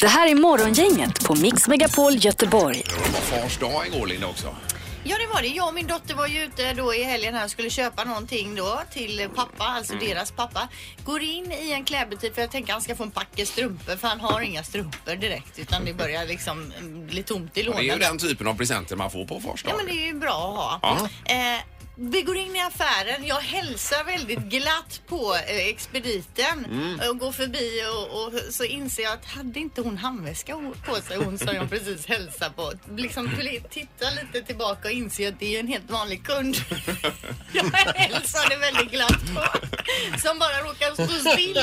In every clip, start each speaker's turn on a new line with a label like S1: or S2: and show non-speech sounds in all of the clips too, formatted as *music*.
S1: Det här är Morgongänget på Mix Megapol Göteborg.
S2: Det var fars dag igår Linda också.
S3: Ja, det var det. Jag och min dotter var ju ute då i helgen här och skulle köpa någonting då till pappa, alltså
S2: Mm.
S3: deras pappa. Går in i en klädbutik för jag tänker han ska få en packe strumpor för han har inga strumpor direkt utan det börjar liksom mm, bli tomt i
S2: Och Det är ju
S3: lådan.
S2: den typen av presenter man får på fars dag.
S3: Ja, men det är ju bra att
S2: Ja.
S3: ha. Eh, vi går in i affären. Jag hälsar väldigt glatt på eh, expediten
S2: Mm.
S3: och går förbi och, och så inser jag att hade inte hon handväska o- på sig, hon som jag precis
S2: *laughs*
S3: hälsade på. Liksom pl- titta lite tillbaka och inser att det är ju en helt vanlig kund.
S2: *laughs*
S3: jag hälsade väldigt glatt på som bara råkar stå still.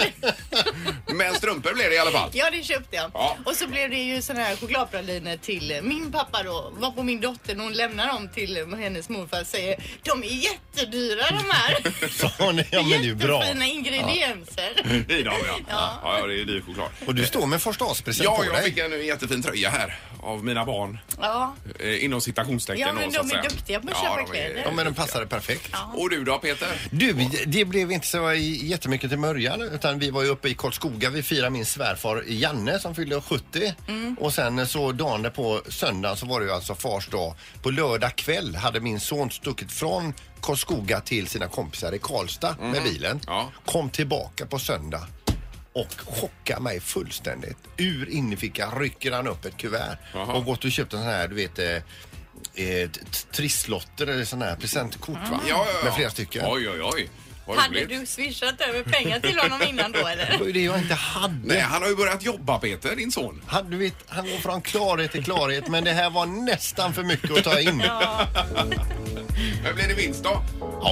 S2: Men strumpor blev det i alla fall.
S3: Ja, det köpte jag.
S2: Ja.
S3: Och så blev det ju såna här chokladpraliner till eh, min pappa då. Var på min dotter när hon lämnar dem till eh, hennes morfar och säger de är jättedyra de här. *laughs*
S4: *laughs* Ja, nej, ja, men det är ju bra. Mm.
S3: Jättefina ingredienser.
S2: I dem ja. ja. Ja, det är dyr choklad.
S4: Och du står med förstaårspresent
S2: Ja,
S4: på
S2: jag fick
S4: dig.
S2: en jättefin tröja här av mina barn.
S3: Ja.
S2: Eh, inom citationstecken.
S3: Ja, men
S2: då,
S3: de
S2: så att
S3: är
S2: säga.
S3: duktiga på att
S2: Ja,
S3: köpa
S2: de är-
S3: kläder.
S4: Ja, men den passade perfekt.
S2: Och du då Peter?
S4: Du, det blev inte så jättemycket till mörjan utan vi var ju uppe i Karlskoga. Vi firade min svärfar Janne som fyllde 70 och sen så dagen på söndagen så var det ju alltså fars dag. På lördag kväll hade min son stuckit från Karlskoga till sina kompisar i Karlstad med bilen.
S2: Mm. Ja.
S4: Kom tillbaka på söndag och chockade mig fullständigt. Ur innerfickan rycker han upp ett kuvert
S2: Jaha.
S4: och gått och köpt en sån här, du vet eh, eh, t- trisslotter eller sån här presentkort va?
S2: Ja, ja, ja.
S4: Med flera stycken.
S2: Oj, oj, oj. Vad
S3: Hade
S2: roligt.
S3: du swishat över pengar till honom innan då
S4: Det
S3: eller?
S4: var ju det jag inte hade.
S2: Nej, han har ju börjat jobba Peter, din son.
S4: Han, du vet, han går från klarhet till klarhet men det här var nästan för mycket att ta in. Ja,
S2: *laughs* Men blir det vinst då?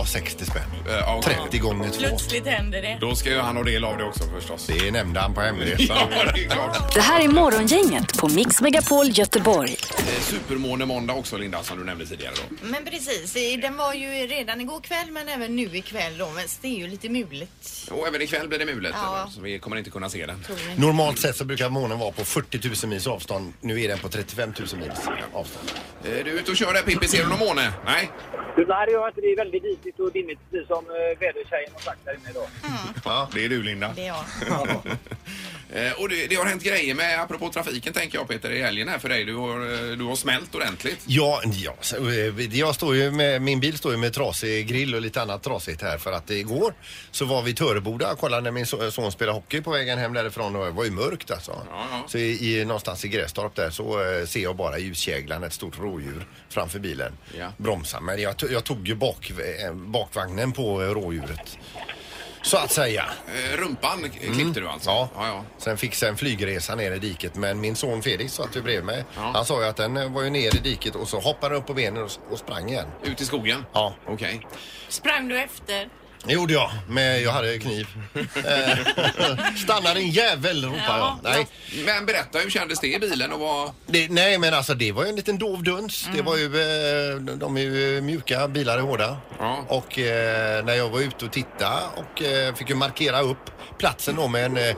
S4: 60 spänn.
S2: Eh, ja, okej.
S4: 30 gånger 2.
S3: Plötsligt händer det.
S2: Då ska ju han ha del av det också förstås.
S4: Det nämnde han på
S2: *laughs* Ja,
S4: hemresan.
S2: det är klart.
S1: Det här är Morgongänget på Mix Megapol Göteborg.
S2: Eh, Supermåne-måndag också Linda, som du nämnde tidigare då.
S3: Men precis, eh, den var ju redan igår kväll men även nu ikväll då. Men det är ju lite mulet.
S2: Och även ikväll blir det mulet.
S3: Ja.
S2: Så vi kommer inte kunna se den.
S4: Normalt sett så brukar månen vara på 40 000 mils avstånd. Nu är den på 35 000 mils avstånd.
S2: Eh, Du är ute och kör där Pippi, ser du någon måne? Nej?
S5: Du, nej, det gör jag inte. Det är väldigt disigt och dimmigt, precis som eh, vädertjejen har sagt där inne idag.
S2: Ja. Det är du Linda.
S3: Det är jag.
S2: *laughs* Eh, Och det, det har hänt grejer med, apropå trafiken tänker jag Peter, i helgen här för dig. Du har, eh, du har smält ordentligt.
S4: Ja, ja så, eh, jag står ju med, min bil står ju med trasig grill och lite annat trasigt här för att igår så var vi i Töreboda och kollade när min so- son spelade hockey på vägen hem därifrån och det var ju mörkt alltså.
S2: ja.
S4: Så i, i, någonstans i Grästorp där så eh, ser jag bara ljuskäglan, ett stort rådjur framför bilen.
S2: Ja.
S4: Bromsa, men jag, to- jag tog ju bak, eh, bakvagnen på eh, rådjuret. Så att säga. Mm.
S2: Eh, Rumpan k- klippte du alltså?
S4: Ja.
S2: ja, ja.
S4: Sen fick jag en flygresa ner i diket men min son Felix satt ju bredvid mig. Han sa ju att den eh, var ju ner i diket och så hoppade den upp på benen och, s- och sprang igen.
S2: Ut i skogen?
S4: Ja.
S2: Okej.
S3: Sprang du efter?
S4: Det gjorde jag, men jag hade
S2: *laughs*
S4: kniv. Eh, *laughs* Stanna din jävel, ropade jag.
S3: Ja,
S4: Nej.
S2: Men berätta, hur kändes det i bilen och vad...
S4: Det, nej, men alltså det var ju en liten dov duns. Det var ju, eh, de- de är ju mjuka, bilar är hårda.
S2: Ja.
S4: Och eh, när jag var ute och tittade och eh, fick ju markera upp platsen då med en, eh,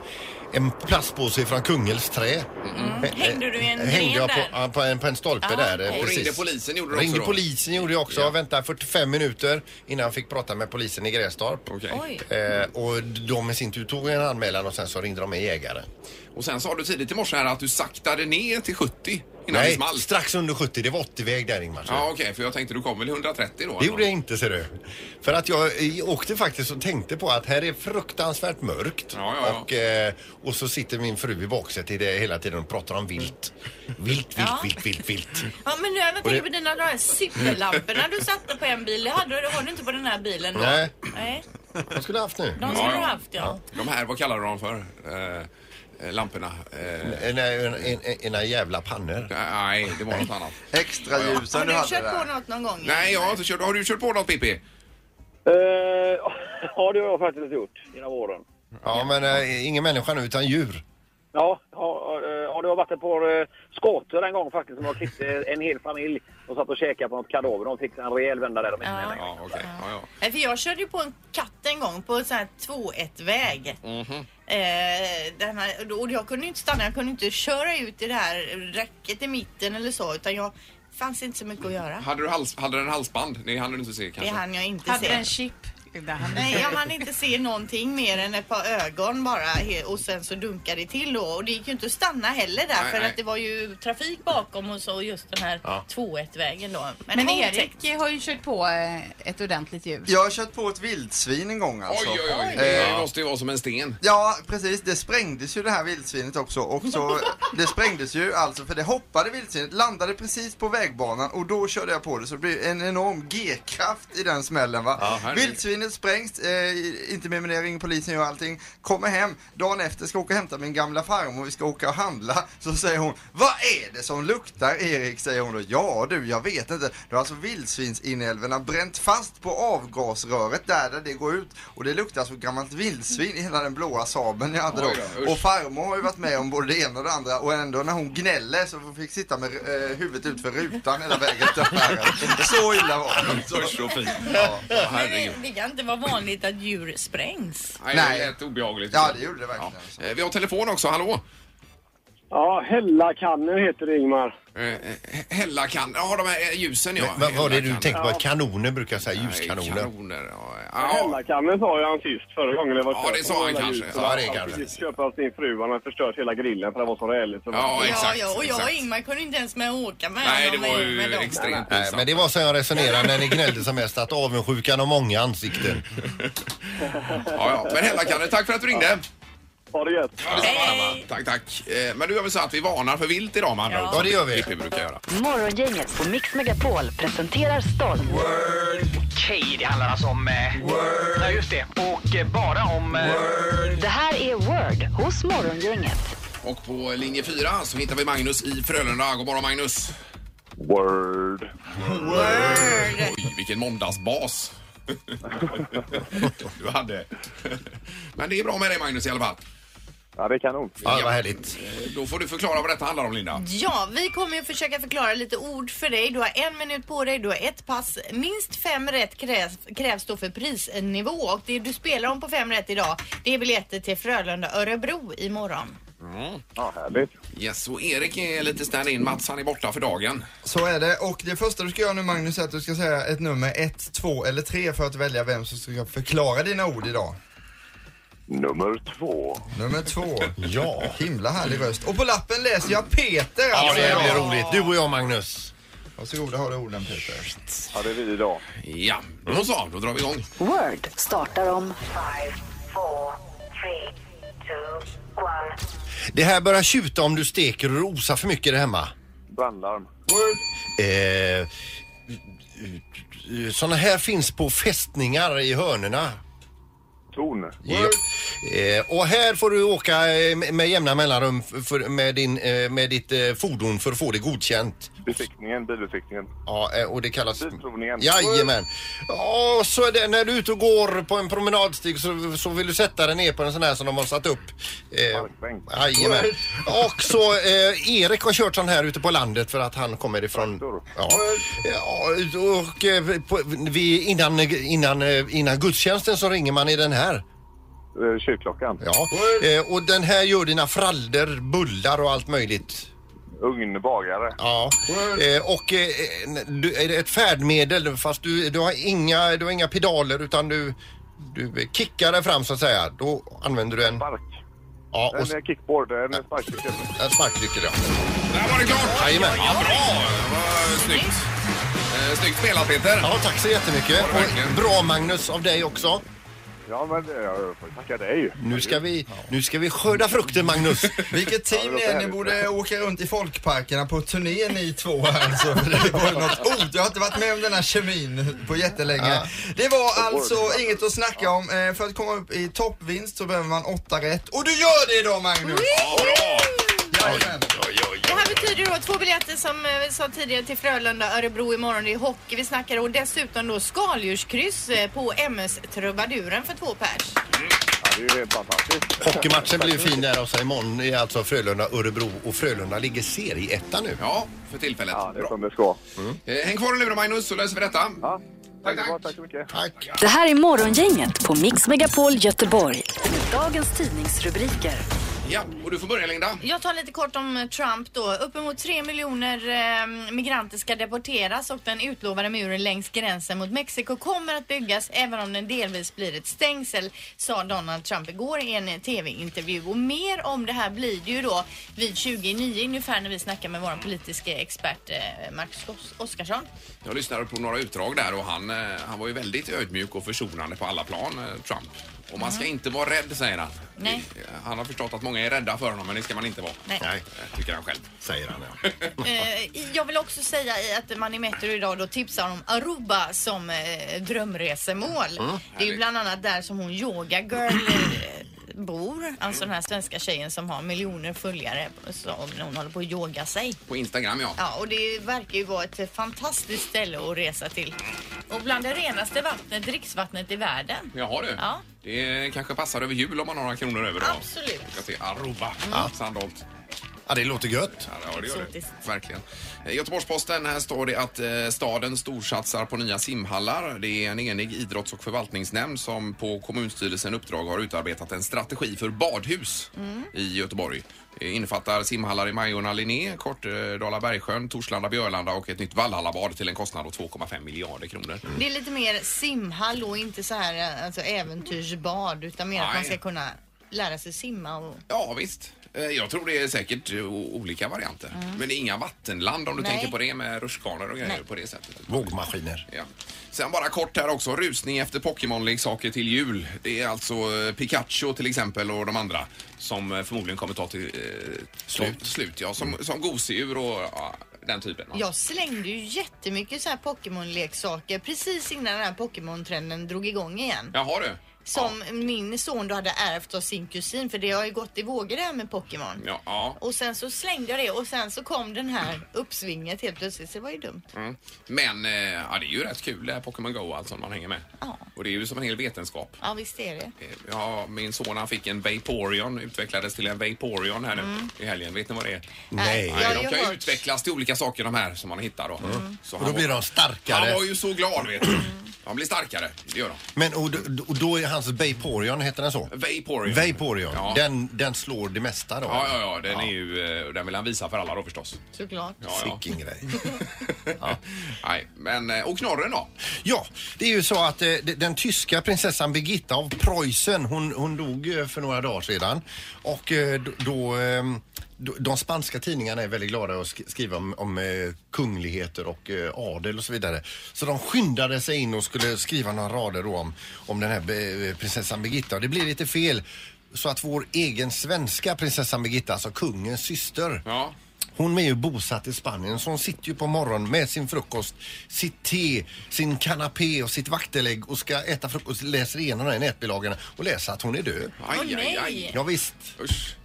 S4: en plastpåse från Kungälvs trä. Eh, eh,
S3: Hängde du i en
S4: Hängde
S3: gren
S4: jag på,
S3: där?
S4: ja, på, en, på en stolpe
S3: Ja,
S4: där. eh,
S3: okej.
S2: Och
S4: precis.
S2: ringde polisen gjorde du
S4: Ringde
S2: också då?
S4: polisen gjorde jag också.
S2: Ja.
S4: Jag väntade 45 minuter innan jag fick prata med polisen i Grästorp.
S2: Okej.
S3: Oj.
S4: Eh, och de i sin tur tog en anmälan och sen så ringde de en jägare.
S2: Och sen sa du tidigt i morse här att du saktade ner till 70 innan det
S4: Nej,
S2: small.
S4: strax under 70. Det var 80-väg där Ingmar.
S2: Ja, okej, för jag tänkte du kom väl i 130 då?
S4: Det gjorde jag inte ser du. För att jag eh, åkte faktiskt och tänkte på att här är fruktansvärt mörkt.
S2: Ja, ja, ja.
S4: Och, eh, och så sitter min fru i baksätet i det hela tiden och pratar om vilt. Vilt, vilt,
S3: Ja.
S4: vilt, vilt, vilt.
S3: Ja men nu även
S4: det-
S3: tänker på dina de här superlamporna du satte på en bil. Det hade du, det har du inte på den här bilen då?
S4: Nej.
S3: Nej.
S4: Vad skulle jag haft nu?
S3: De skulle
S2: Ja,
S3: du
S2: ja.
S3: haft ja.
S2: De här, vad kallar du dem för? Eh, Eh, lamporna? Eh,
S4: En, en, en, en jävla pannor.
S2: nej, det var något annat.
S6: Extra
S3: Har
S6: ljusen
S3: du
S6: du hade
S3: kört på
S6: där.
S3: något någon gång?
S2: Nej, jag har inte kört. Har du kört på något Pippi?
S7: *laughs*
S5: Eh, ja, det har jag faktiskt gjort genom åren.
S4: Ja, men eh, ingen människa nu utan djur.
S5: Ja, ja, eh, ja, det har varit ett par eh, skator en gång faktiskt som jag klippte en hel familj. De satt och käkade på något kadaver. De fick en rejäl vända där. De
S3: Ja.
S5: ja.
S2: Ja, okej. Ja, ja.
S3: Nej, För jag körde ju på en katt en gång på en sån här 2-1-väg. Eh, den här, och jag kunde ju inte stanna, jag kunde inte köra ut i det här räcket i mitten eller så utan jag fanns inte så mycket att göra.
S2: Hade, du hals, hade den halsband? Det hann du inte se
S3: Det
S2: kanske?
S3: hann jag inte
S8: Hade
S3: se.
S8: den chip?
S6: utbildar han
S3: Nej, om man inte ser någonting mer än ett par ögon bara he- och sen så dunkar det till då. Och det gick ju inte att stanna heller där
S2: Nej,
S3: för
S2: nej.
S3: att det var ju trafik bakom och så just den här
S4: Ja.
S3: 2-1-vägen då. Men,
S6: Men
S3: det var otäckt.
S6: Erik har ju kört på eh, ett ordentligt djur.
S8: Jag har kört på ett vildsvin en gång
S2: Oj,
S8: alltså.
S2: oj, oj.
S8: Eh,
S2: Det måste ju vara som en sten.
S8: Ja, precis. Det sprängdes ju det här vildsvinet också. Och
S2: *laughs*
S8: så, det sprängdes ju alltså för det hoppade vildsvinet, landade precis på vägbanan och då körde jag på det. Så det blev en enorm G-kraft i den smällen va.
S2: Ja, herregud.
S8: vildsvinet sprängs, eh, inte med minering, polisen och allting. Kommer hem, dagen efter ska jag åka och hämta min gamla farmor, vi ska åka och handla. Så säger hon, vad är det som luktar Erik? Säger hon då. Ja du, jag vet inte. Då har alltså vildsvinsinälvorna bränt fast på avgasröret där, där det går ut. Och det luktar så gammalt vildsvin i hela den blåa Saaben jag hade då.
S2: Oj då, usch.
S8: och farmor har ju varit med om både det ena och det andra och ändå när hon gnäller så fick sitta med eh, huvudet ut för rutan hela vägen till affären. Så illa var
S2: *laughs*
S8: det.
S2: Usch och fint. Ja, herregud.
S3: Men det kan inte vara vanligt att djur sprängs.
S2: Nej,
S8: Nej.
S2: det lät obehagligt.
S8: Ja, det gjorde det verkligen.
S2: Ja. Eh, Vi har telefon också, hallå?
S7: Ja, Hällakannu heter det, Ingmar.
S2: Eh, eh, Hälla kan... Ja, de här eh, ljusen ja.
S4: Men, vad var det du
S2: Hälla
S4: tänkte
S2: kan-
S4: på? Kanoner brukar jag säga,
S2: Nej,
S4: ljuskanoner.
S2: kanoner, ja. ja.
S7: Hällakannu sa ju han sist förra gången det var
S2: Ja,
S7: kört.
S2: det sa han
S7: Alla
S2: kanske.
S7: ljus.
S4: Ja, det
S7: han
S4: kanske.
S7: precis köpa av sin fru. Han har förstört hela grillen för det var så räligt.
S2: Ja, exakt.
S3: ja, ja, och jag
S2: exakt.
S3: och Ingmar kunde inte ens med att åka med
S2: Nej, det
S3: honom
S2: var ju
S3: med dem.
S2: extremt
S4: Nej, men
S2: pinsamt.
S4: det var så jag resonerade när ni gnällde som mest att avundsjukan har många ansikten.
S2: Ja, ja. Men Hälla kan det. Tack för att du ringde.
S7: Ha det gött.
S2: Ja, detsamma, Alma. Tack, tack. Eh, Men du gör väl så att vi varnar för vilt idag med andra
S3: Ja.
S2: ord,
S4: Ja,
S2: som
S4: det gör vi.
S2: Pippi brukar göra.
S1: Morgongänget på Mix Megapol presenterar stolt.
S9: Okej, det handlar alltså om... Eh, Word. Ja, just det. Och eh, bara om... Eh,
S1: Det här är Word hos Morgongänget.
S2: Och på linje 4 så hittar vi Magnus i Frölunda. God morgon Magnus.
S7: Word.
S2: Oj, vilken måndagsbas. *laughs* du hade. Men det är bra med dig Magnus i alla fall.
S7: Ja, det är kanon.
S4: Ja, vad härligt.
S2: Eh, Då får du förklara vad detta handlar om Linda.
S3: Ja, vi kommer ju försöka förklara lite ord för dig. Du har en minut på dig, du har ett pass. Minst fem rätt krävs, krävs då för prisnivå och det du spelar om på fem rätt idag det är biljetter till Frölunda-Örebro imorgon.
S7: Ja, härligt.
S2: Yes, och Erik är lite stand-in. Mats han är borta för dagen.
S8: Så är det. Och det första du ska göra nu Magnus är att du ska säga ett nummer, ett, två eller tre för att välja vem som ska förklara dina ord idag.
S7: Nummer två.
S8: Nummer två.
S4: Ja.
S8: Himla härlig röst. Och på lappen läser jag Peter
S4: Ja,
S8: alltså
S4: det blir
S8: idag.
S4: roligt. Du och jag, Magnus.
S8: Varsågoda, har du orden Peter.
S7: Ja, det är vi idag.
S2: Ja, då så. Då drar vi igång.
S1: Word startar om
S4: Det här börjar tjuta om du steker och rosar för mycket där hemma.
S7: Brandlarm.
S4: Eh, såna här finns på fästningar i hörnerna.
S7: Torn.
S4: Ja. Eh, och här får du åka eh, med jämna mellanrum f- för, med, din, eh, med ditt eh, fordon för att få det godkänt.
S7: Besiktningen. Bilbesiktningen.
S4: Ja, eh, och det kallas...
S7: Bilprovningen.
S4: Jajamän. Ja, och så är det när du är ute och går på en promenadstig så, så vill du sätta dig ner på en sån här som de har satt upp. Eh,
S7: Parkbänk.
S4: Jajamän. Och så eh, Erik har kört sån här ute på landet för att han kommer ifrån...
S7: Traktor.
S4: Ja. ja och eh, på, vi, innan, innan, eh, innan gudstjänsten så ringer man i den här.
S7: Eh, Kyrkklockan.
S4: Ja. Eh, och den här gör dina frallor, bullar och allt möjligt.
S7: Ugnbagare.
S4: Ja. Eh, och eh, eh, du, är det ett färdmedel fast du, du, har inga, du har inga pedaler utan du, du kickar dig fram så att säga. Då använder du en,
S7: Spark.
S4: ja, och, s-
S7: En eh, kickboard. En sparkcykel.
S4: en sparkcykel. Ja.
S2: Där var det klart!
S4: Jajamän.
S2: Ja, bra! Vad snyggt. Eh, Snyggt spelat Peter.
S4: Ja, tack så jättemycket.
S2: Ja, verkligen.
S4: Och bra Magnus av dig också.
S7: Ja, men eh, jag får tacka dig.
S4: Nu ska vi, nu ska vi skörda
S7: *laughs*
S4: frukten Magnus.
S8: Vilket
S7: Ja,
S8: team
S7: det
S8: ni är, ni
S7: låter
S8: borde åka runt i folkparkerna på turné ni två här alltså. För det *laughs* var ju något ord. Jag har inte varit med om den här kemin på jättelänge. Det var alltså inget att snacka om. Eh, För att komma upp i toppvinst så behöver man åtta rätt. Och du gör det idag Magnus!
S2: Ja, bra!
S8: Jajamän.
S3: Det här betyder då två biljetter som eh, vi sa tidigare till Frölunda-Örebro imorgon. Det är hockey vi snackar och dessutom då skaldjurskryss eh, på MS Trubaduren för två pers.
S7: Ja, det är ju helt fantastiskt.
S4: Hockeymatchen blir ju fin där och så imorgon är alltså Frölunda-Örebro och Frölunda ligger serieetta nu.
S2: Ja, för tillfället.
S7: Ja, det är
S2: Bra.
S7: som det ska.
S2: Eh, Häng kvar i luren Magnus så löser vi detta.
S7: Ja,
S2: Tack,
S7: underbart.
S2: tack.
S7: Tack så mycket.
S4: Tack.
S1: Det här är Morgongänget på Mix Megapol Göteborg. Dagens tidningsrubriker.
S2: Ja, och du får börja Linda.
S3: Jag tar lite kort om Trump då. Uppemot tre miljoner eh, migranter ska deporteras och den utlovade muren längs gränsen mot Mexiko kommer att byggas även om den delvis blir ett stängsel, sa Donald Trump igår i en eh, tv-intervju. Och mer om det här blir det ju då vid 29 ungefär när vi snackar med vår politiska expert eh, Marcus Os- Oskarsson.
S2: Jag lyssnade på några utdrag där och han, eh, han var ju väldigt ödmjuk och försonande på alla plan, eh, Trump. Och man ska inte vara rädd, säger han.
S3: Nej.
S2: Eh, Han har förstått att många är rädda för honom, men det ska man inte vara.
S3: Nej.
S2: Eh, Tycker han själv.
S4: säger han. Ja.
S3: Eh, jag vill också säga i att man i Metro idag då tipsar om Aruba som eh, drömresemål. Det är ju bland annat där som hon Yoga Girl eh, bor. Alltså den här svenska tjejen som har miljoner följare som hon håller på att yoga sig.
S2: *laughs* På Instagram, ja.
S3: Ja, och det verkar ju vara ett fantastiskt ställe att resa till. Och bland det renaste vattnet, dricksvattnet i världen.
S2: Jaha du.
S3: Ja.
S2: Det kanske passar över jul om man har några kronor över. då.
S3: Absolut.
S2: Jag ska se Aruba. Sandholt.
S4: Mm. ja, det låter gött.
S2: Ja, det gör det.
S3: Exotiskt.
S2: Verkligen. Eh, Göteborgs-Posten, här står det att eh, staden storsatsar på nya simhallar. Det är en enig idrotts och förvaltningsnämnd som på kommunstyrelsen uppdrag har utarbetat en strategi för badhus
S8: Mm.
S2: i Göteborg. Det innefattar simhallar i Majorna, Linné, Kortedala, Bergsjön, Torslanda, Björlanda och ett nytt Vallhallabad till en kostnad av 2,5 miljarder kronor.
S3: Det är lite mer simhall och inte så här eh, alltså, äventyrsbad utan mer att man
S2: Nej.
S3: ska kunna lära sig simma och
S2: Ja, visst. Eh, Jag tror det är säkert eh, o- olika varianter. Men det är inga vattenland om du
S3: Mm. Nej.
S2: tänker på det med rutschkanor och grejer
S3: Nej.
S2: på det sättet.
S4: Vågmaskiner.
S2: Ja. Sen bara kort här också, rusning efter Pokémon-leksaker till jul. Det är alltså eh, Pikachu till exempel och de andra som eh, förmodligen kommer ta till eh, slut. slut ja. Som, som gosedjur och ja, den typen. va?
S3: Jag slängde ju jättemycket så här Pokémon-leksaker precis innan den här Pokémon-trenden drog igång igen.
S2: Jaha du.
S3: Som min son då hade ärvt av sin kusin för det har ju gått i vågor det här med Pokémon.
S2: Ja, ja.
S3: Och sen så slängde jag det och sen så kom den här uppsvinget helt plötsligt så det var ju dumt.
S2: Mm. Men eh, ja, det är ju rätt kul det här Pokémon Go alltså om man hänger med.
S3: Ja.
S2: Och det är ju som en hel vetenskap.
S3: Ja visst är det.
S2: Eh, Ja, min son han fick en Vaporeon, utvecklades till en Vaporeon här nu i helgen. Vet ni vad det är?
S4: Nej.
S3: Äh,
S2: Nej,
S3: jag har
S2: de
S3: ju
S2: kan ju
S3: hört.
S2: utvecklas till olika saker de här som man hittar då. Så
S4: Mm. Och då
S2: han
S4: blir
S2: var-
S4: de starkare. Mm.
S2: Han var ju så glad vet du. Han blir starkare, det gör han.
S4: Men och, då- och då är hans Vaporeon, heter den så?
S2: Vaporeon.
S4: Vaporeon.
S2: Ja.
S4: Den, den slår det mesta då?
S2: Ja, ja, ja, den är ju, eh, den vill han visa för alla då förstås.
S3: Såklart.
S2: Ja, ja.
S4: Sicken
S2: *laughs*
S4: grej.
S2: Nej, men, eh, och knorren då?
S4: Ja, det är ju så att eh, de- den tyska prinsessan Birgitta av Preussen, hon, hon dog eh, för några dagar sedan. Och eh, då- då, ehm, då... De spanska tidningarna är väldigt glada att sk- skriva om, om eh, kungligheter och eh, adel och så vidare. Så de skyndade sig in och skulle skriva några rader då om, om den här be- eh, prinsessan Birgitta. Och det blev lite fel. Så att vår egen svenska prinsessan Birgitta, alltså kungens syster,
S2: Ja.
S4: hon är ju bosatt i Spanien så hon sitter ju på morgonen med sin frukost, sitt te, sin kanapé och sitt vaktelägg och ska äta frukost, läser igenom den här nätbilagan och läser att hon är död.
S2: Aj,
S3: Åh, nej.
S4: Ja, visst,
S2: Usch.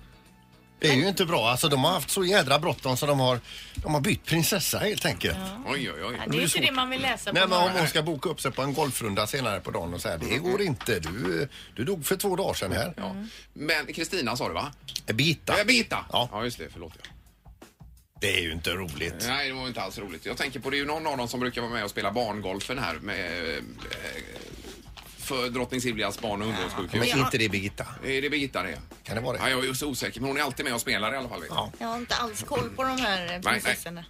S4: det är ju inte bra. Alltså de har haft så jädra bråttom så de har, de har bytt prinsessa helt enkelt.
S2: Oj, oj, oj.
S3: Ja, det är inte det man vill läsa på
S4: Nej men om
S3: morgonen.
S4: hon ska boka upp sig på en golfrunda senare på dagen och säga det går inte, du, du dog för två dagar sedan här.
S2: Ja. Men Kristina sa du va?
S4: Birgitta,
S2: Ja, Birgitta!
S4: Ja.
S2: ja, just det. Förlåt. Ja.
S4: det är ju inte roligt.
S2: Nej, det var inte alls roligt. Jag tänker på det är ju någon av dem som brukar vara med och spela barngolfen här med eh, för drottning Silvias barn
S4: Men
S2: och ungdomssjukhus.
S4: är inte det Birgitta?
S2: Är det Birgitta det?
S4: Kan det vara
S2: Ja,
S4: det?
S2: jag är ju så osäker, men hon är alltid med och spelar i alla fall. Vet.
S4: Ja.
S2: Ja.
S3: Jag har inte alls koll på de här eh,
S2: nej.
S3: prinsessorna.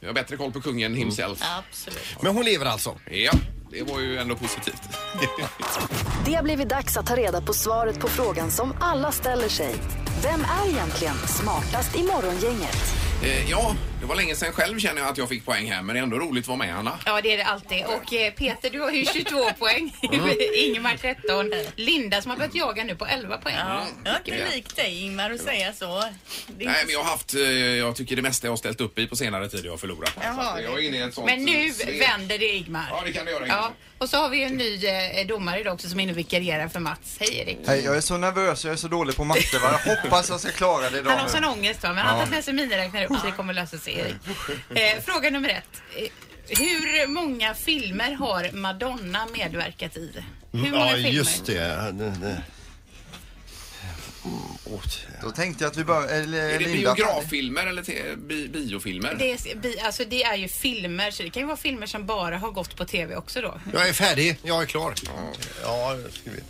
S2: Jag har bättre koll på kungen himself.
S3: Absolut.
S4: Mm. Men hon lever alltså?
S2: Ja, det var ju ändå positivt.
S1: Det har blivit dags att ta reda på svaret på frågan som alla ställer sig. Vem är egentligen smartast i Morgongänget?
S2: Eh, ja, det var länge sedan själv känner jag att jag fick poäng här, men det är ändå roligt att vara med Anna.
S6: Ja, det är det alltid. Och eh, Peter, du har ju 22 poäng. Ingemar 13. Linda som har börjat jaga nu på 11 poäng.
S3: Jag är inte lik dig Ingmar att säga så. Det är
S2: Nej,
S3: inte
S2: men jag har haft, eh, jag tycker det mesta jag har ställt upp i på senare tid jag har förlorat.
S3: Jaha,
S2: Så att Alltså, jag är inne i ett sånt
S6: Men nu
S2: svep.
S6: vänder det Ingmar.
S2: Ja, det kan det göra, Ingmar.
S6: Ja. Och så har vi en ny eh, domare idag också som är inne och vikarierar för Mats. Hej Erik.
S8: Hej, jag är så nervös, jag är så dålig på matte. Va? Jag hoppas jag ska klara det
S6: Han har
S8: idag.
S6: sån
S8: nu.
S6: ångest va, men han har tagit med sig miniräknare upp så det kommer lösa sig Erik. Eh, fråga nummer ett. Eh, Hur många filmer har Madonna medverkat i? Hur många
S4: Ja,
S6: filmer?
S4: just det. Ja, det- det. Mm, åt-
S8: Då tänkte jag att vi börjar... Eller,
S2: Är det
S8: Eh, Linda.
S2: biograffilmer eller te- bi- biofilmer?
S6: Det är, bi- alltså det är ju filmer, så det kan ju vara filmer som bara har gått på tv också då.
S4: Jag är färdig. Jag är klar. Ja, jag har skrivit.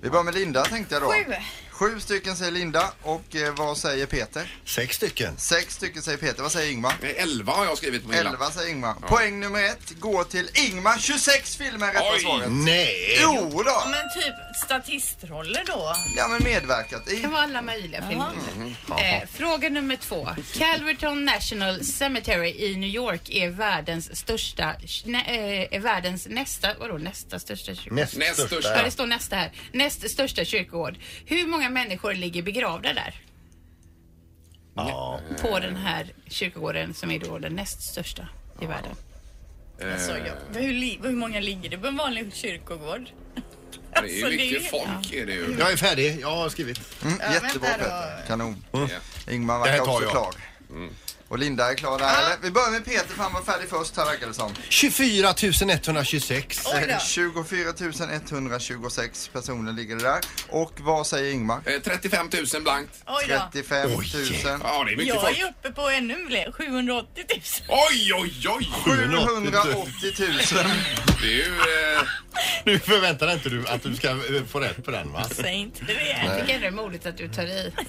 S8: Vi börjar med Linda tänkte jag då.
S3: Sju.
S8: Sju stycken säger Linda och eh, vad säger Peter?
S4: Sex stycken.
S8: Sex stycken säger Peter. Vad säger Ingmar?
S2: Eh, Elva har jag skrivit på min lapp.
S8: Elva säger Ingmar. Poäng nummer ett går till Ingmar. 26 filmer är rätta
S2: Oj.
S8: svaret.
S4: Nej!
S8: Jo då.
S3: Ja, men typ statistraller då.
S8: Ja men medverkat
S6: Det kan
S8: i. Mm,
S6: vara alla möjliga filmer. Eh, fråga nummer två. Calverton National Cemetery i New York är världens största, nä, eh, är världens nästa, vadå nästa största kyrkogård?
S4: Näst,
S2: Näst
S4: största.
S2: största.
S6: Ja, det står nästa här. Näst största kyrkogård. Hur många människor ligger begravda där?
S4: Ja.
S6: På den här kyrkogården som är då den näst största i världen.
S3: Alltså, jag, hur, li- hur många ligger det på en vanlig kyrkogård?
S2: Det är ju
S3: Alltså, det är-
S2: mycket folk är det ju.
S4: Jag är färdig. Jag har skrivit.
S8: Mm, jättebra
S3: vänta då.
S8: Peter. Kanon.
S2: Ja. Mm.
S8: Ingmar
S4: Mm. Det här
S8: verkar
S4: tar
S8: också
S4: jag.
S8: klar. Och Linda är klar där eller? Vi börjar med Peter för han var färdig först här verkar det som.
S4: 24 126.
S3: Oj
S8: *laughs*
S3: då.
S8: 24 126 personer ligger det där. Och vad säger Ingmar?
S2: Eh, 35 000 blankt.
S3: Oj då.
S8: 35 000.
S2: Ja, det är mycket
S3: Jag
S2: folk.
S3: är uppe på ännu fler. 780 000.
S2: Oj, oj, oj!
S8: 780 000.
S2: Det är ju... Eh,
S4: Nu förväntar inte du att du ska eh, få rätt på den va?
S3: Säg inte det.
S6: Jag tycker ändå det är modigt att du tar i.
S8: *laughs*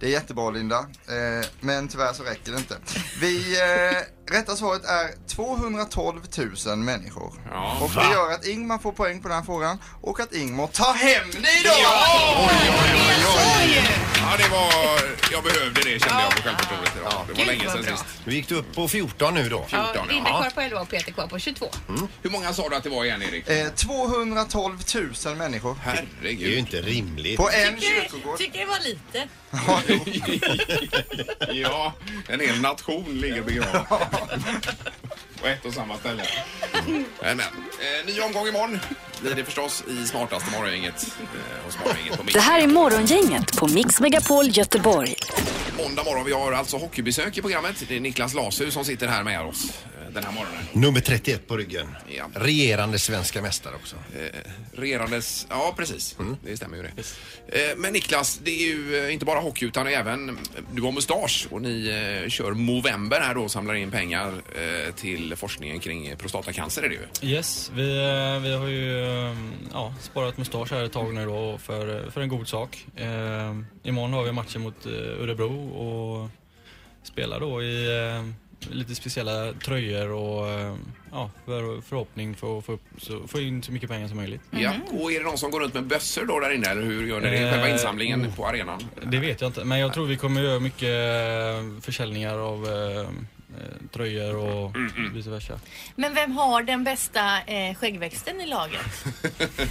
S8: Det är jättebra Linda, eh, men tyvärr så räcker det inte. Vi, eh, rätta svaret är 212 000 människor.
S2: Ja.
S8: och det gör att Ingmar får poäng på den här frågan och att Ingmar tar hem det idag!
S2: ja, det var... Jag behövde det kände jag på självförtroendet idag. Det var
S6: Gud,
S2: länge
S6: vad
S2: sedan
S6: bra.
S2: sist.
S4: Nu gick du upp på 14 nu då.
S6: Ja, Linda
S2: ja.
S6: kvar på 11 och Peter kvar på 22.
S2: Mm. Hur många sa du att det var igen, Erik?
S8: Eh, 212 000 människor
S4: Det är ju
S2: Herregud.
S4: inte rimligt.
S8: på en
S3: Tycker,
S8: kyrkogård.
S3: tycker det var lite.
S2: Ja, en hel nation ligger begraven. På ett och samma ställe. Men, men. Eh, ny omgång imorgon blir det förstås i smartaste morgongänget. Eh, hos morgongänget på Mix.
S1: Det här är Morgongänget på Mix Megapol Göteborg.
S2: Måndag morgon. Vi har alltså hockeybesök i programmet. Det är Niklas Lasu som sitter här med oss eh, den här morgonen.
S4: Nummer 31 på ryggen.
S2: Ja. Eh,
S4: Regerande svenska mästare också.
S2: Regerandes... Ja, precis.
S4: Mm.
S2: Det stämmer ju det. Eh, Men Niklas, det är ju eh, inte bara hockey utan även... eh, Du har mustasch och ni eh, kör Movember här då och samlar in pengar eh, till forskningen kring prostatacancer är det ju.
S10: Yes, vi, eh, vi har ju eh, ja, sparat mustasch här ett tag nu då för, för en god sak. Eh, imorgon har vi matchen mot eh, Örebro och spelar då i eh, lite speciella tröjor och eh, ja, för, förhoppning för att få, upp, så, få in så mycket pengar som möjligt.
S3: Mm-hmm.
S2: Ja. Och är det någon som går runt med bössor då där inne eller hur gör ni det?
S10: Eh,
S2: Själva insamlingen
S4: mm.
S2: på arenan?
S10: Det vet jag inte, men jag tror vi kommer göra mycket eh, försäljningar av eh, eh, tröjor och vice versa.
S3: Men vem har den bästa eh, skäggväxten i laget?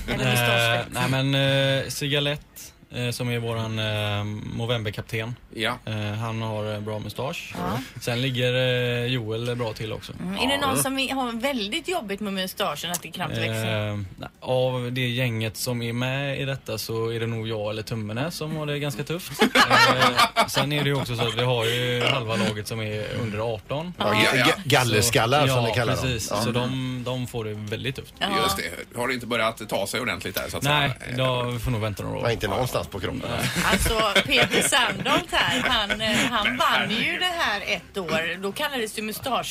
S3: Eller
S10: Eh,
S3: mustaschväxten?
S10: nej men eh, Cigalett eh, som är våran eh, Movember-kapten.
S2: Ja.
S10: Eh, han har eh, bra mustasch. Sen ligger eh, Joel bra till också.
S3: Mm, Är det någon som i- har väldigt jobbigt med mustaschen att det knappt växer?
S10: Eh, nej, av det gänget som är med i detta så är det nog jag eller Tummenäs som har det ganska
S3: *laughs*
S10: tufft. Eh, sen är det ju också så att vi har ju halva laget som är under 18.
S2: Ja, ja.
S4: Ga- Gallerskallar
S10: Så-
S4: som ni kallar
S10: ja, precis.
S4: dem.
S10: Så
S4: Mm,
S10: de, de får det väldigt tufft.
S2: Just det. Har det inte börjat ta sig ordentligt där så att
S10: Nej,
S2: säga? Eh,
S10: då, vi får nog vänta några
S4: Ja,
S10: år.
S4: inte någonstans på kroppen.
S3: Alltså Peter Sandholt här, han, eh, han vann ju det här ett år. Då kallades det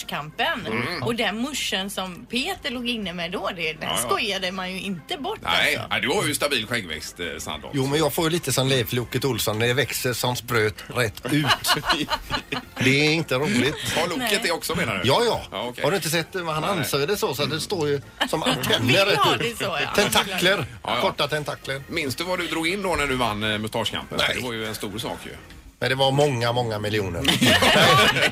S3: mustaschkampen. Och den muschen som Peter låg inne med då, det, den
S2: Mm. ja.
S3: skojade man ju inte bort
S2: Nej,
S3: alltså.
S2: nej, du har ju stabil skäggväxt eh, Sandholt.
S4: Jo, men jag får ju lite som Leif Loket Olsson. Det växer som spröt rätt ut. Det är inte roligt.
S2: Har loket det också menar du?
S4: Ja, ja.
S2: ja okej.
S4: Har du inte sett det? Han ansade det så, så det står ju
S3: *laughs*
S4: som
S3: Vill
S4: antenner
S3: ha
S4: rätt
S3: det
S4: ut.
S3: så ja.
S4: Tentakler.
S2: Ja, ja.
S4: Korta tentakler.
S2: Minns du vad du drog in då när du vann eh, mustaschkampen?
S4: Nej.
S2: Det var ju en stor sak ju.
S4: Men det var många, många miljoner. Nej,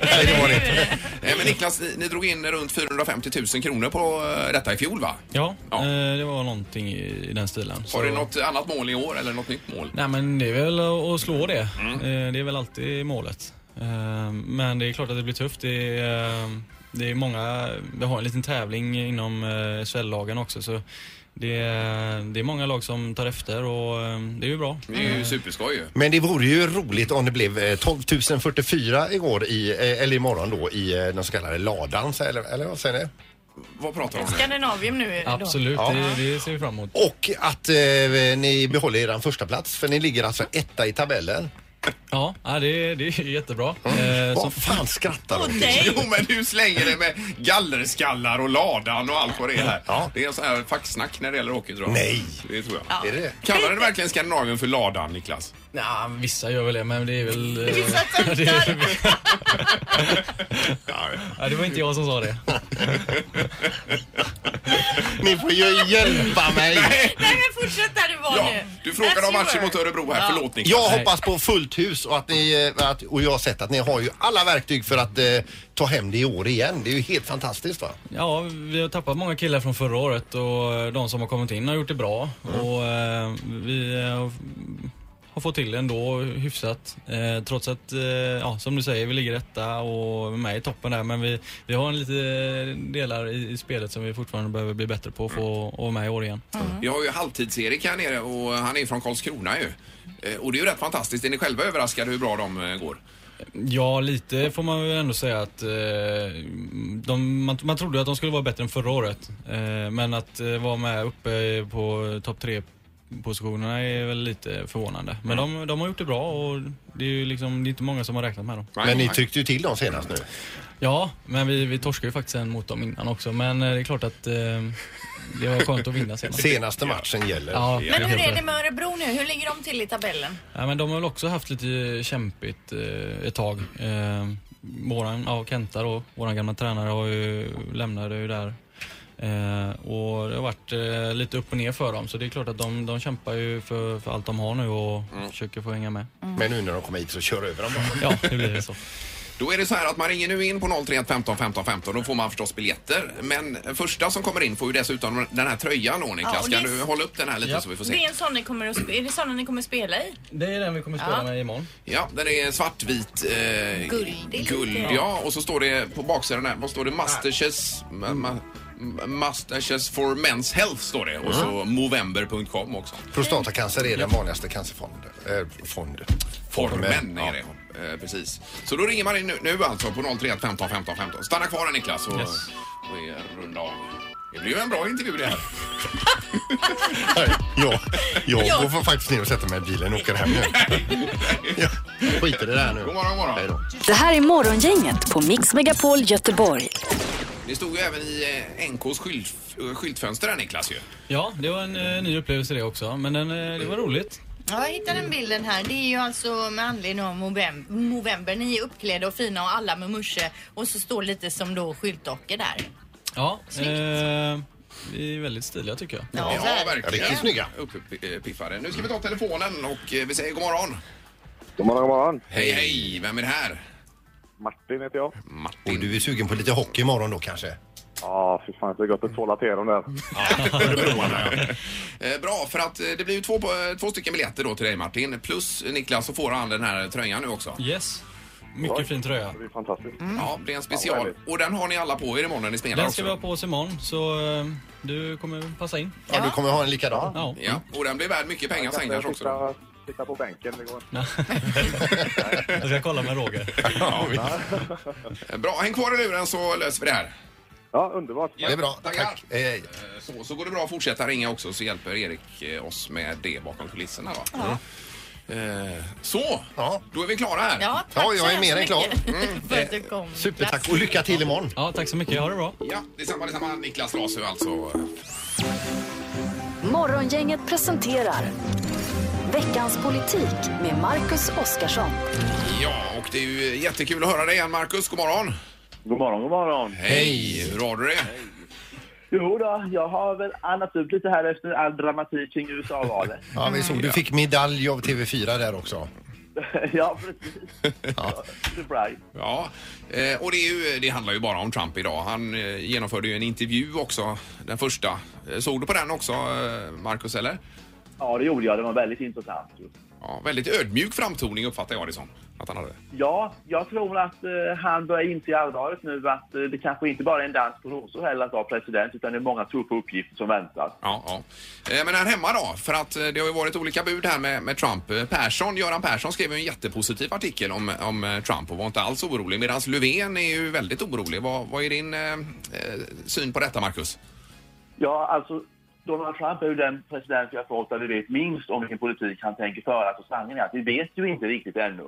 S4: nej, det var det inte.
S2: Nej, Eh, men Niklas, ni, ni drog in runt 450 000 kronor på eh, detta i fjol va?
S10: Ja,
S2: Ja.
S10: Eh, det var någonting i, i den stilen. Så-
S2: Har du något annat mål i år eller något nytt mål?
S10: Nej men det är väl att slå det.
S2: Mm.
S10: Eh, Det är väl alltid målet. Eh, Men det är klart att det blir tufft. Det är, eh, det är många, vi har en liten tävling inom eh, SHL-lagen också så det är, det är många lag som tar efter och eh, det är ju bra.
S2: Det är ju superskoj ju.
S4: Men det vore ju roligt om det blev eh, 12 044 igår i, eh, eller imorgon då i eh, den så kallade ladan, så- eller, eller vad säger ni?
S2: Vad pratar du om nu?
S3: Skandinavium nu då.
S10: Absolut, det, det ser vi fram emot.
S4: Och att eh, ni behåller er första plats för ni ligger alltså etta i tabellen.
S10: Ja, ja, det, det är jättebra. Eh,
S2: Vad
S4: fan skrattar
S2: du? *laughs* Jo, men du slänger det med gallerskallar och ladan och allt vad det är här. Det är en sån här facksnack när det gäller hockey, tror jag.
S4: Nej!
S2: Det tror jag.
S3: Ja. Är det det?
S2: Kallar du verkligen Skandinavien för ladan, Niklas?
S10: Nej, vissa gör väl det, men det är väl... eh,
S3: Vissa töntar.
S10: *laughs* det, är ja, det var inte jag som sa det.
S4: Ni får ju hjälpa mig.
S3: Nej men fortsätt där du var
S2: Ja,
S3: nu.
S2: du frågade
S3: As
S2: om
S3: you
S2: matchen
S3: were.
S2: mot Örebro här.
S3: Ja.
S2: Förlåt, Niklas.
S4: Jag hoppas på fullt hus och, att ni, eh, att, och jag har sett att ni har ju alla verktyg för att eh, ta hem det i år igen. Det är ju helt fantastiskt va?
S10: Ja, vi har tappat många killar från förra året och eh, de som har kommit in har gjort det bra. Och eh, vi eh, har fått till det ändå hyfsat. Eh, trots att, eh, ja, som du säger, vi ligger etta och är med i toppen där. Men vi, vi har en lite delar i, i spelet som vi fortfarande behöver bli bättre på för att vara med i år igen.
S2: Vi har ju halvtids-Erik här nere och han är från Karlskrona ju. Eh, Och det är ju rätt fantastiskt. Är ni själva överraskade hur bra de eh, går?
S10: Ja, lite får man väl ändå säga att eh, de, man, man trodde att de skulle vara bättre än förra året. Eh, men att eh, vara med uppe på topp tre positionerna är väl lite förvånande. Men de, de har gjort det bra och det är ju liksom, det är inte många som har räknat med dem.
S4: Men ni tyckte ju till dem senast nu.
S10: Ja, men vi, vi torskade ju faktiskt en mot dem innan också. Men eh, det är klart att eh, det var skönt att vinna senast.
S4: Senaste matchen gäller.
S10: Ja,
S3: Men hur är det med Örebro nu? Hur ligger de till i tabellen?
S10: Ja, men de har väl också haft lite kämpigt eh, ett tag. Eh, våran, ja, Kenta då, våran gamla tränare har ju, lämnade ju där. Eh, och det har varit eh, lite upp och ner för dem. Så det är klart att de, de kämpar ju för, för allt de har nu och
S3: Mm.
S10: försöker få hänga med.
S4: Men nu när de kommer hit så kör över dem bara.
S10: Ja, det blir det så.
S2: *laughs* Då är det så här att man ringer nu in på 031 15 15 15. Då får man förstås biljetter. Men första som kommer in får ju dessutom den här tröjan då
S3: Ja,
S2: Niklas.
S3: och
S2: Kan
S3: det är-
S2: du hålla upp den här lite
S10: Ja.
S2: så vi får
S3: Det
S2: se?
S3: är, en sån ni kommer att, sp- är det såna ni kommer att spela i?
S10: Det är den vi kommer
S3: spela
S10: spela
S3: Ja.
S10: med imorgon.
S2: Ja, den är svartvit. Eh,
S3: Guldig.
S2: Guld, ja. Och så står det på baksidan här, vad står det? Masterchefs... ma-
S4: Mm.
S2: ma- Masterchefs for Men's Health står det. Och så
S4: Mm.
S2: Movember.com också.
S4: Prostatacancer är den vanligaste cancerfonden. Eh, fond.
S2: Formen är det. Eh, precis. Så då ringer man in nu, nu alltså på 031 15 15 15. Stanna kvar här Niklas och,
S10: Yes.
S2: och eh, runda av. Det blir ju en bra intervju det här.
S4: Nej, jag, jag går för faktiskt ner och sätter mig i bilen och åker
S2: *laughs*
S4: hem nu. Jag skiter i det här nu.
S2: God morgon, god morgon.
S4: Hej då.
S1: Det här är Morgongänget på Mix Megapol Göteborg.
S2: Det stod ju även i eh, NKs skylt, eh, skyltfönster där Niklas ju.
S10: Ja, det var en eh, ny upplevelse det också. Men den, eh, det var roligt.
S3: Ja, jag hittade den bilden här. Det är ju alltså med anledning av Movem- Movember. Ni är uppklädda och fina och alla med musche. Och så står lite som då skyltdockor där.
S10: Ja,
S3: Snyggt.
S10: eh, vi är väldigt stiliga tycker jag.
S3: Ja,
S4: Riktigt snygga.
S2: Uppiffade. eh, Nu ska vi ta telefonen och eh, vi säger god morgon.
S5: God morgon, god morgon.
S2: Hej, *laughs* hej. Vem är det här?
S5: Martin heter jag.
S4: Och du är sugen på lite hockey imorgon då kanske?
S5: Ja, fy fan, det är gott att tvåla till dem där.
S2: Eh, Bra, för att eh, det blir ju två, på- eh, två stycken biljetter då till dig Martin. Plus eh, Niklas så får han den här tröjan nu också.
S10: Yes, mycket fin tröja.
S5: Det är fantastiskt.
S3: Mm.
S2: Ja, det är en
S5: Ja, vad
S2: special.
S5: härligt.
S2: Och den har ni alla på er imorgon när ni spelar
S10: Den
S2: också.
S10: ska vi ha på oss imorgon så eh, du kommer passa in.
S4: Ja, du kommer ha en likadan.
S10: Ja.
S2: Ja, och den blir värd mycket pengar sen kanske också. då.
S5: Sitta, sitta på bänken, det går inte.
S10: *laughs* Jag ska kolla med Roger.
S2: Ja, visst. Bra, häng kvar i luren så löser vi det här.
S5: Ja, underbart.
S4: Det är bra.
S2: Tackar. Eh,
S4: Tack. Hej, hej.
S2: Så, så går det bra att fortsätta ringa också så hjälper Erik eh, oss med det bakom kulisserna.
S4: Mm.
S2: Va? Eh, Så,
S4: Ja.
S2: då är vi klara här. Mm.
S3: Ja, tack
S4: Ja, jag
S3: så
S4: är
S3: hemskt
S4: mer än
S3: mycket
S4: klar.
S3: för att du kom.
S4: Supertack och lycka till imorgon.
S10: Ja, tack så mycket. Ha det bra.
S2: Ja, detsamma, detsamma. Niklas Rasu alltså.
S1: Morgongänget presenterar Veckans politik med Marcus Oskarsson.
S2: Ja, och det är ju jättekul att höra dig igen Marcus. God morgon.
S5: God morgon, god morgon.
S2: Hej, hur har du det?
S7: Jo då, jag har väl annat upp lite här efter all dramatik kring USA-valet. *laughs*
S4: Ja, vi såg, du fick medalj av TV4 där också.
S7: ja, precis.
S4: Ja.
S7: Surprise.
S2: Ja, eh, och det, är ju, det handlar ju bara om Trump idag. Han eh, genomförde ju en intervju också, den första. Eh, Såg du på den också, eh, Marcus, eller?
S7: Ja, det gjorde jag. Det var väldigt intressant.
S2: Ja, väldigt ödmjuk framtoning uppfattar jag det som. Att han hade.
S7: Ja, jag tror att eh, han börjar inse allvaret nu att eh, det kanske inte bara är en dans på rosor heller att vara president utan det är många tuffa uppgifter som väntar.
S2: Ja, ja. Eh, Men här hemma då? För att eh, det har ju varit olika bud här med, med Trump. Eh, Persson, Göran Persson skrev ju en jättepositiv artikel om, om eh, Trump och var inte alls orolig. Medan Löfven är ju väldigt orolig. Vad, vad är din eh, eh, syn på detta, Marcus?
S7: Ja, alltså Donald Trump är ju den president vi har fått där vi vet minst om vilken politik han tänker föra. Så sanningen är att vi vet ju inte riktigt ännu.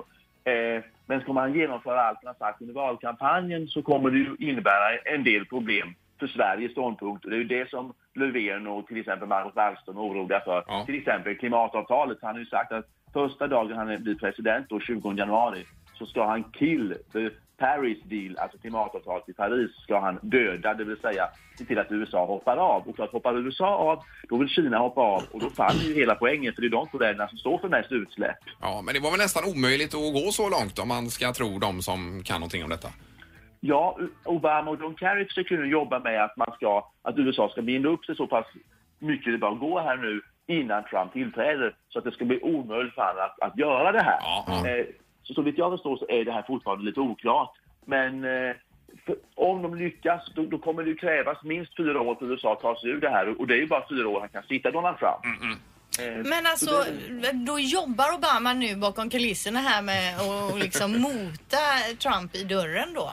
S7: Eh, men ska man genomföra allt han har sagt under valkampanjen så kommer det ju innebära en del problem för Sveriges ståndpunkt. Och det är ju det som Löfven och till exempel Margot Wallström är oroliga för. Till exempel klimatavtalet. Han har ju sagt att första dagen han blir president, då 20 januari, så ska han kill the Paris deal, alltså klimatavtalet i Paris, ska han döda, det vill säga se till att USA hoppar av. Och klart, hoppar USA av, då vill Kina hoppa av och då faller ju hela poängen för det är de två länderna som står för mest utsläpp.
S2: Ja, men det var väl nästan omöjligt att gå så långt om man ska tro de som kan någonting om detta.
S7: Ja, Obama och John Kerry försöker nu jobba med att, man ska, att USA ska binda upp sig så pass mycket det bara går här nu innan Trump tillträder så att det ska bli omöjligt för honom att, att göra det här. Eh, Så, så vitt jag förstår så är det här fortfarande lite oklart. Men eh, för, om de lyckas då, då kommer det ju krävas minst fyra år för USA att ta sig ur det här och, och det är ju bara fyra år han kan sitta Donald Trump. Eh,
S3: Men
S7: så
S3: alltså,
S7: det-
S3: då jobbar Obama nu bakom kulisserna här med att liksom mota Trump i dörren då?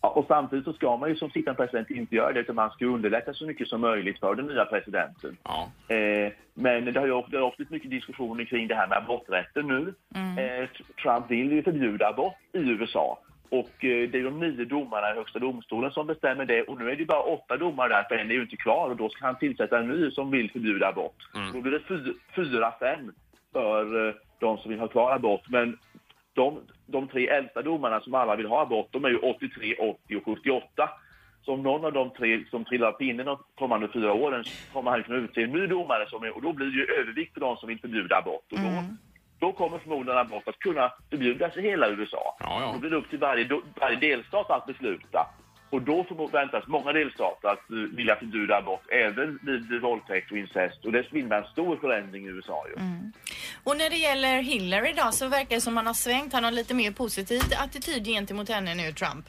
S7: Ja, Och samtidigt så ska man ju som sittande president inte göra det utan man ska ju underlätta så mycket som möjligt för den nya presidenten. Eh, men det har ju också, det har också blivit mycket diskussioner kring det här med aborträtten nu. Eh, Trump vill ju förbjuda abort i USA. Och eh, det är de nio domarna i Högsta domstolen som bestämmer det. Och nu är det ju bara åtta domare där, för en är ju inte klar. Och då ska han tillsätta en ny som vill förbjuda abort.
S1: Mm.
S7: Då blir det fy- fyra, fem för eh, de som vill ha kvar abort. Men de, de tre äldsta domarna som alla vill ha abort, de är ju 83, 80 och 78. Så om någon av de tre som trillar av pinnen de kommande fyra åren så kommer han kunna utse en ny domare som är, och då blir det ju övervikt för de som vill förbjuda abort. Och då, då kommer förmodligen abort att kunna förbjudas i hela USA. Då blir det upp till varje, do- varje delstat att besluta. Och då förväntas många delstater att uh, vilja förbjuda abort även vid eh, våldtäkt och incest. Och det innebär en stor förändring i USA ju.
S3: Och när det gäller Hillary då så verkar det som han har svängt. Han har lite mer positiv attityd gentemot henne nu, Trump.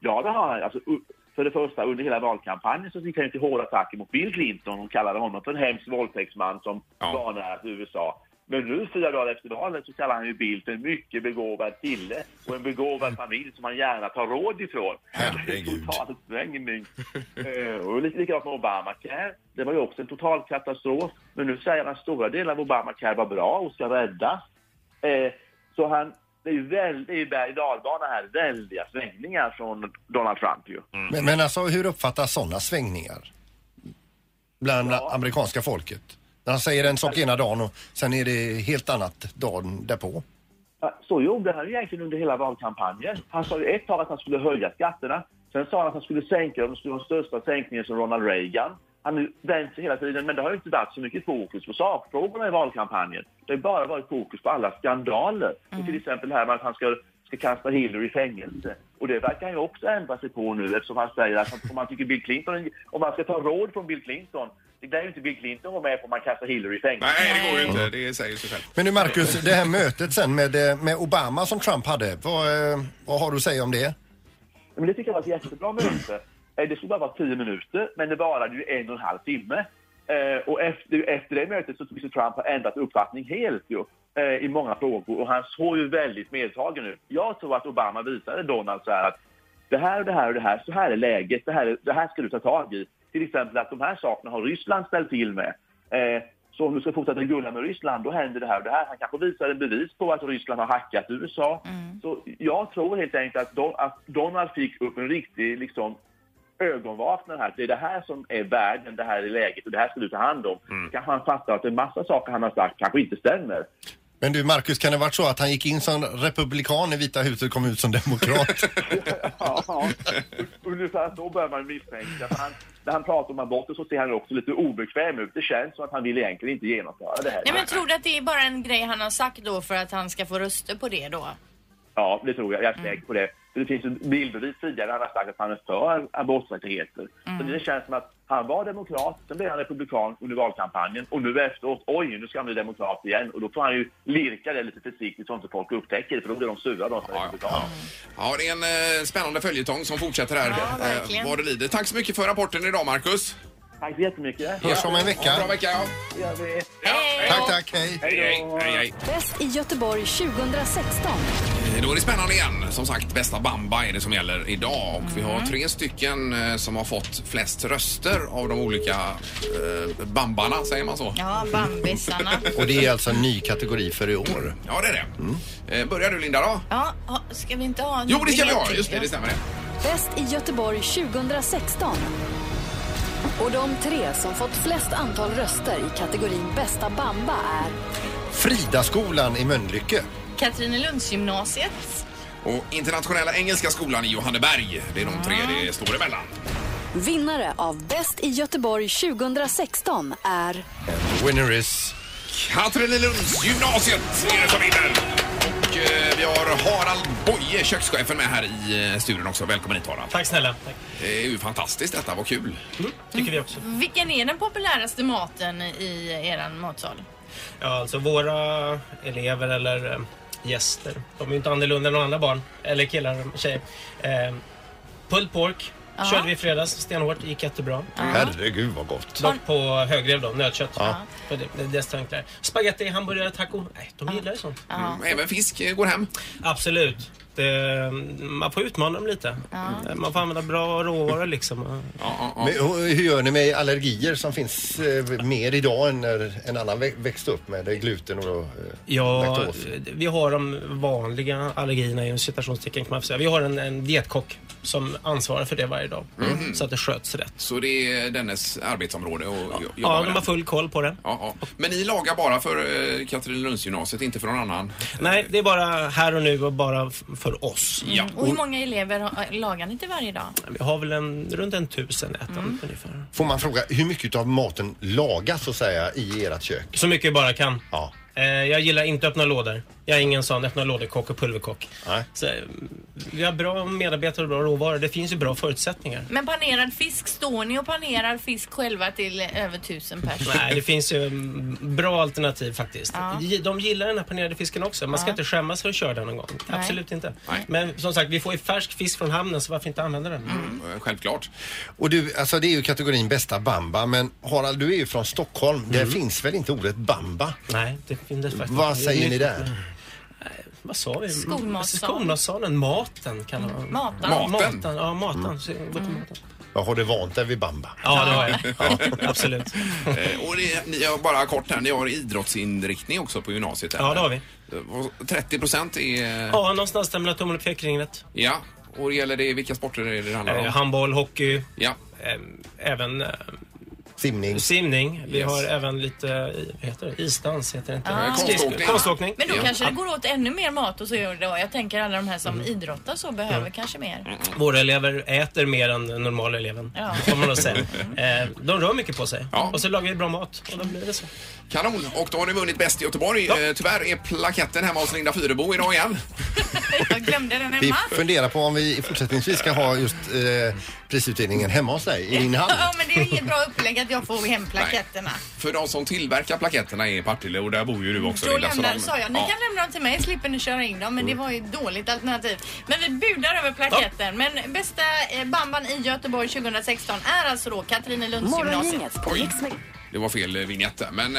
S7: Ja, det har han. Alltså, u- för det första, under hela valkampanjen så gick han ju till hårda attacker mot Bill Clinton och kallade honom för en hemsk våldtäktsman som vanärat USA. Men nu, fyra dagar efter valet, så kallar han ju Bill för en mycket begåvad kille och en begåvad familj som han gärna tar råd ifrån. Herregud. Total svängning. Eh, och lite likadant med Obamacare. Det var ju också en total katastrof. Men nu säger han att stora delar av Obamacare var bra och ska räddas. Eh, så han, det är ju väl, det är ju berg och dalbana här, väldiga svängningar från Donald Trump ju.
S4: Men, men alltså hur uppfattas sådana svängningar? Bland amerikanska folket? När han säger en sak ena dagen och sen är det helt annat dagen därpå.
S7: Så gjorde han ju egentligen under hela valkampanjen. Han sa ju ett tag att han skulle höja skatterna. Sen sa han att han skulle sänka dem, det skulle vara den största sänkningen som Ronald Reagan. Han har ju vänt sig hela tiden, men det har ju inte varit så mycket fokus på sakfrågorna i valkampanjen. Det har bara varit fokus på alla skandaler. Och till exempel det här med att han ska, ska kasta Hillary i fängelse. Och det verkar han ju också ändra sig på nu eftersom han säger att han- om man tycker Bill Clinton, om man ska ta råd från Bill Clinton, det där är ju inte Bill Clinton var med på om man kastar Hillary i fängelse.
S2: Nej, det går ju inte. Det säger sig självt.
S4: Men nu Marcus, det här mötet sen med, eh, med Obama som Trump hade. Vad, eh, vad har du att säga om det?
S7: Men det tycker jag var ett jättebra möte. Eh, Det skulle bara vara tio minuter, men det varade ju en och en halv timme. Eh, och efter, efter det mötet så tycks ju Trump ha ändrat uppfattning helt ju, eh, i många frågor. Och han såg ju väldigt medtagen ut. Jag tror att Obama visade Donald så här att det här och det här och det här, så här är läget, det här, det här ska du ta tag i. Till exempel att de här sakerna har Ryssland ställt till med. Eh, så om du ska fortsätta gulla med Ryssland, då händer det här och det här. Han kanske visar en bevis på att Ryssland har hackat USA.
S3: Mm.
S7: Så jag tror helt enkelt att, Don, att Donald fick upp en riktig liksom, ögonvaknare här. Det är det här som är världen, det här är läget och det här ska du ta hand om. Kanske han fattar att en massa saker han har sagt kanske inte stämmer.
S4: Men du Marcus, kan det varit så att han gick in som republikan i Vita huset och kom ut som demokrat?
S7: Ja, ungefär så börjar man misstänka. För han, när han pratar om aborter så ser han också lite obekväm ut. Det känns som att han vill egentligen inte genomföra det här.
S3: Nej men tror du att det är bara en grej han har sagt då för att han ska få röster på det då?
S7: Ja, det tror jag. Jag är säker på det. För det finns ju bildbevis tidigare där han har sagt att han är för aborträttigheter. Så det känns som att han var demokrat, sen blev han republikan under valkampanjen och nu efteråt, oj, nu ska han bli demokrat igen. Och då får han ju lirka det lite försiktigt så inte folk upptäcker det, för då blir de sura de som är republikaner.
S2: Ja, det är en eh, spännande följetong som fortsätter här. Eh,
S3: Ja, verkligen.
S2: vad det lider. Tack så mycket för rapporten idag, Marcus.
S7: Tack så jättemycket.
S4: Hörs om en
S2: Ha en
S4: vecka.
S2: bra vecka. Ja.
S7: Det gör vi.
S4: Tack, tack, hej.
S2: Hej, hej, hej.
S1: Bäst i Göteborg 2016.
S2: Eh, Då är det spännande igen. Som sagt, bästa bamba är det som gäller idag. Och vi har tre stycken eh, som har fått flest röster av de olika eh, bambarna, säger man så?
S6: Ja,
S2: *laughs*
S6: bambisarna.
S4: Och det är Mm. alltså en ny kategori för i år.
S2: Ja, det är det. Eh, börjar du Linda då?
S3: Ja, ha- ska vi inte ha en
S2: Jo, det ska vi
S3: biljett
S2: ha!
S3: till?
S2: Just det, det stämmer det.
S1: Bäst i Göteborg 2016. Och de tre som fått flest antal röster i kategorin bästa bamba är
S4: Fridaskolan i Mölnlycke.
S3: Katrinelundsgymnasiet.
S2: Och Internationella Engelska Skolan i Johanneberg. Det är de tre det står emellan.
S1: vinnare av Bäst i Göteborg 2016 är
S4: Winner is...
S2: Katrinelunds gymnasiet är det som vinner. Och eh, vi har Harald Boye, kökschefen, med här i eh, studion också. Välkommen hit Harald.
S11: Tack snälla. Tack. Mm.
S2: Det är ju fantastiskt detta, vad kul.
S11: Tycker vi också.
S3: Vilken är den populäraste maten i eran matsal?
S11: Ja, alltså våra elever eller eh, gäster, de är ju inte annorlunda än några andra barn, eller killar och tjejer. Eh, pulled pork
S3: Ja.
S11: körde vi i fredags stenhårt, gick jättebra.
S4: Herregud vad gott.
S11: Dock på högrev då, nötkött.
S4: Ja.
S11: För det, det är deras tanke där. Spaghetti, hamburgare, taco. Nej, de gillar ju sånt.
S2: Mm, Även fisk eh, går hem.
S11: Absolut. Det, man får utmana dem lite. Man får använda bra råvaror liksom.
S2: Ja, ja,
S4: Men,
S2: ja.
S4: hur hur gör ni med allergier som finns eh, mer idag än när en annan vä- växte upp med? Det är gluten och eh,
S11: Ja, eh,
S4: laktos.
S11: vi har de vanliga allergierna i citationstecken kan man säga. Vi har en, en dietkock som ansvarar för det varje dag. Så att det sköts rätt.
S2: Så det är dennes arbetsområde och ja,
S11: Ja, de har full koll på det.
S2: Ja, ja. Men ni lagar bara för eh, Katrinelundsgymnasiet, inte för någon annan?
S11: Nej, det är bara här och nu och bara f- för oss.
S2: Ja.
S3: Och hur många elever har- lagar ni till varje dag?
S11: Vi har väl en, runt en tusen ätande
S2: Mm.
S11: ungefär.
S4: Får man fråga hur mycket av maten lagas så att säga i ert kök?
S11: Så mycket vi bara kan.
S4: Ja.
S11: Eh, jag gillar inte att öppna lådor. Jag är ingen sån öppna lådor-kock och pulverkock.
S4: Nej.
S11: Så, eh, vi har bra medarbetare och bra råvaror. Det finns ju bra förutsättningar.
S3: Men panerad fisk, står ni och panerar fisk själva till över tusen personer?
S11: *laughs* Nej, det finns ju mm, bra alternativ faktiskt.
S3: Ja.
S11: Gi- De gillar den här panerade fisken också. Man ska inte skämmas för att köra den någon gång.
S3: Nej.
S11: Absolut inte.
S2: Nej.
S11: Men som sagt, vi får ju färsk fisk från hamnen så varför inte använda den?
S2: Eh, Självklart.
S4: Och du, alltså det är ju kategorin bästa bamba men Harald du är ju från Stockholm. Där finns väl inte ordet bamba?
S11: Nej, det finns Mm. det faktiskt
S4: Vad
S11: inte.
S4: säger ni
S11: Nytt-
S4: där?
S11: Vad sa vi?
S3: Skolmatsalen.
S11: Skolmatsalen. Maten kan det vara.
S3: Maten.
S11: Ja,
S2: Maten.
S11: maten. Ja, maten. Så, gå till maten.
S4: Vad har du vant dig vid bamba?
S11: Ja,
S2: *laughs*
S11: det har jag. Ja, absolut.
S2: Eh, Och det, ni har bara kort här, ni har idrottsinriktning också på gymnasiet?
S11: Ja, det har vi.
S2: Eh, vad- 30 procent är...
S11: Ja, någonstans där mellan tummen och pekfingret.
S2: Ja. Och gäller det, vilka sporter är det det handlar om?
S11: Eh, handboll, hockey,
S2: Ja.
S11: eh, även eh,
S4: Simning?
S11: simning. Vi
S2: Yes.
S11: har även lite eh, vad heter det? isdans, heter det inte?
S2: Ah.
S11: Skridsko-
S2: Konståkning.
S11: Konståkning.
S3: Men då
S2: Ja.
S3: kanske det går åt ännu mer mat och så gör det. Jag tänker alla de här som idrottar så behöver kanske mer.
S11: Våra elever äter mer än den normala eleven.
S3: Ja.
S11: Får man nog säga.
S3: *laughs*
S11: Eh, de rör mycket på sig.
S2: Ja.
S11: Och så lagar vi bra mat. Och då blir det så.
S2: Kanon! Och då har ni vunnit bäst i Göteborg. Eh, Tyvärr är plaketten hemma hos Linda Fyrebo idag igen.
S3: *laughs* Jag glömde den
S4: Vi
S3: hemma.
S4: funderar på om vi fortsättningsvis ska ha just eh, prisutdelningen hemma hos dig i din hand.
S3: *laughs* Ja, men det är inget bra upplägg att jag får hem plaketterna.
S2: För de som tillverkar plaketterna är i Partille och där bor ju du också
S3: Då
S2: Linda. Så
S3: lämnade,
S2: de-
S3: sa jag, ni
S2: Ja.
S3: kan lämna dem till mig, slipper ni köra in dem. Men det var ju ett dåligt alternativ. Men vi budar över plaketten. Men bästa eh, bamban i Göteborg 2016 är alltså då Katrinelundsgymnasiet.
S1: Morgongänget på
S2: Oj.
S1: Mix Meg-
S2: Det var fel eh, vignett där. Men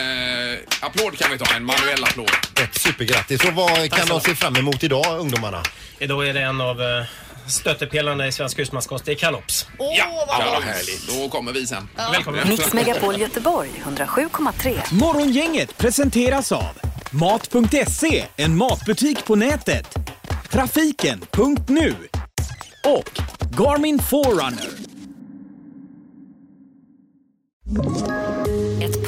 S2: eh, applåd kan vi ta, en manuell applåd.
S4: Ett supergrattis! Och vad kan de se fram emot idag ungdomarna?
S11: Idag är det en av eh, stöttepelarna i svensk husmanskost. Det är kalops.
S3: Åh, vad
S2: ja,
S3: gott!
S2: härligt. Då kommer vi sen.
S11: Välkommen.
S1: Mix Megapol Göteborg 107,3.
S12: Morgongänget presenteras av Mat.se, en matbutik på nätet. Trafiken.nu och Garmin Forerunner.
S13: Ett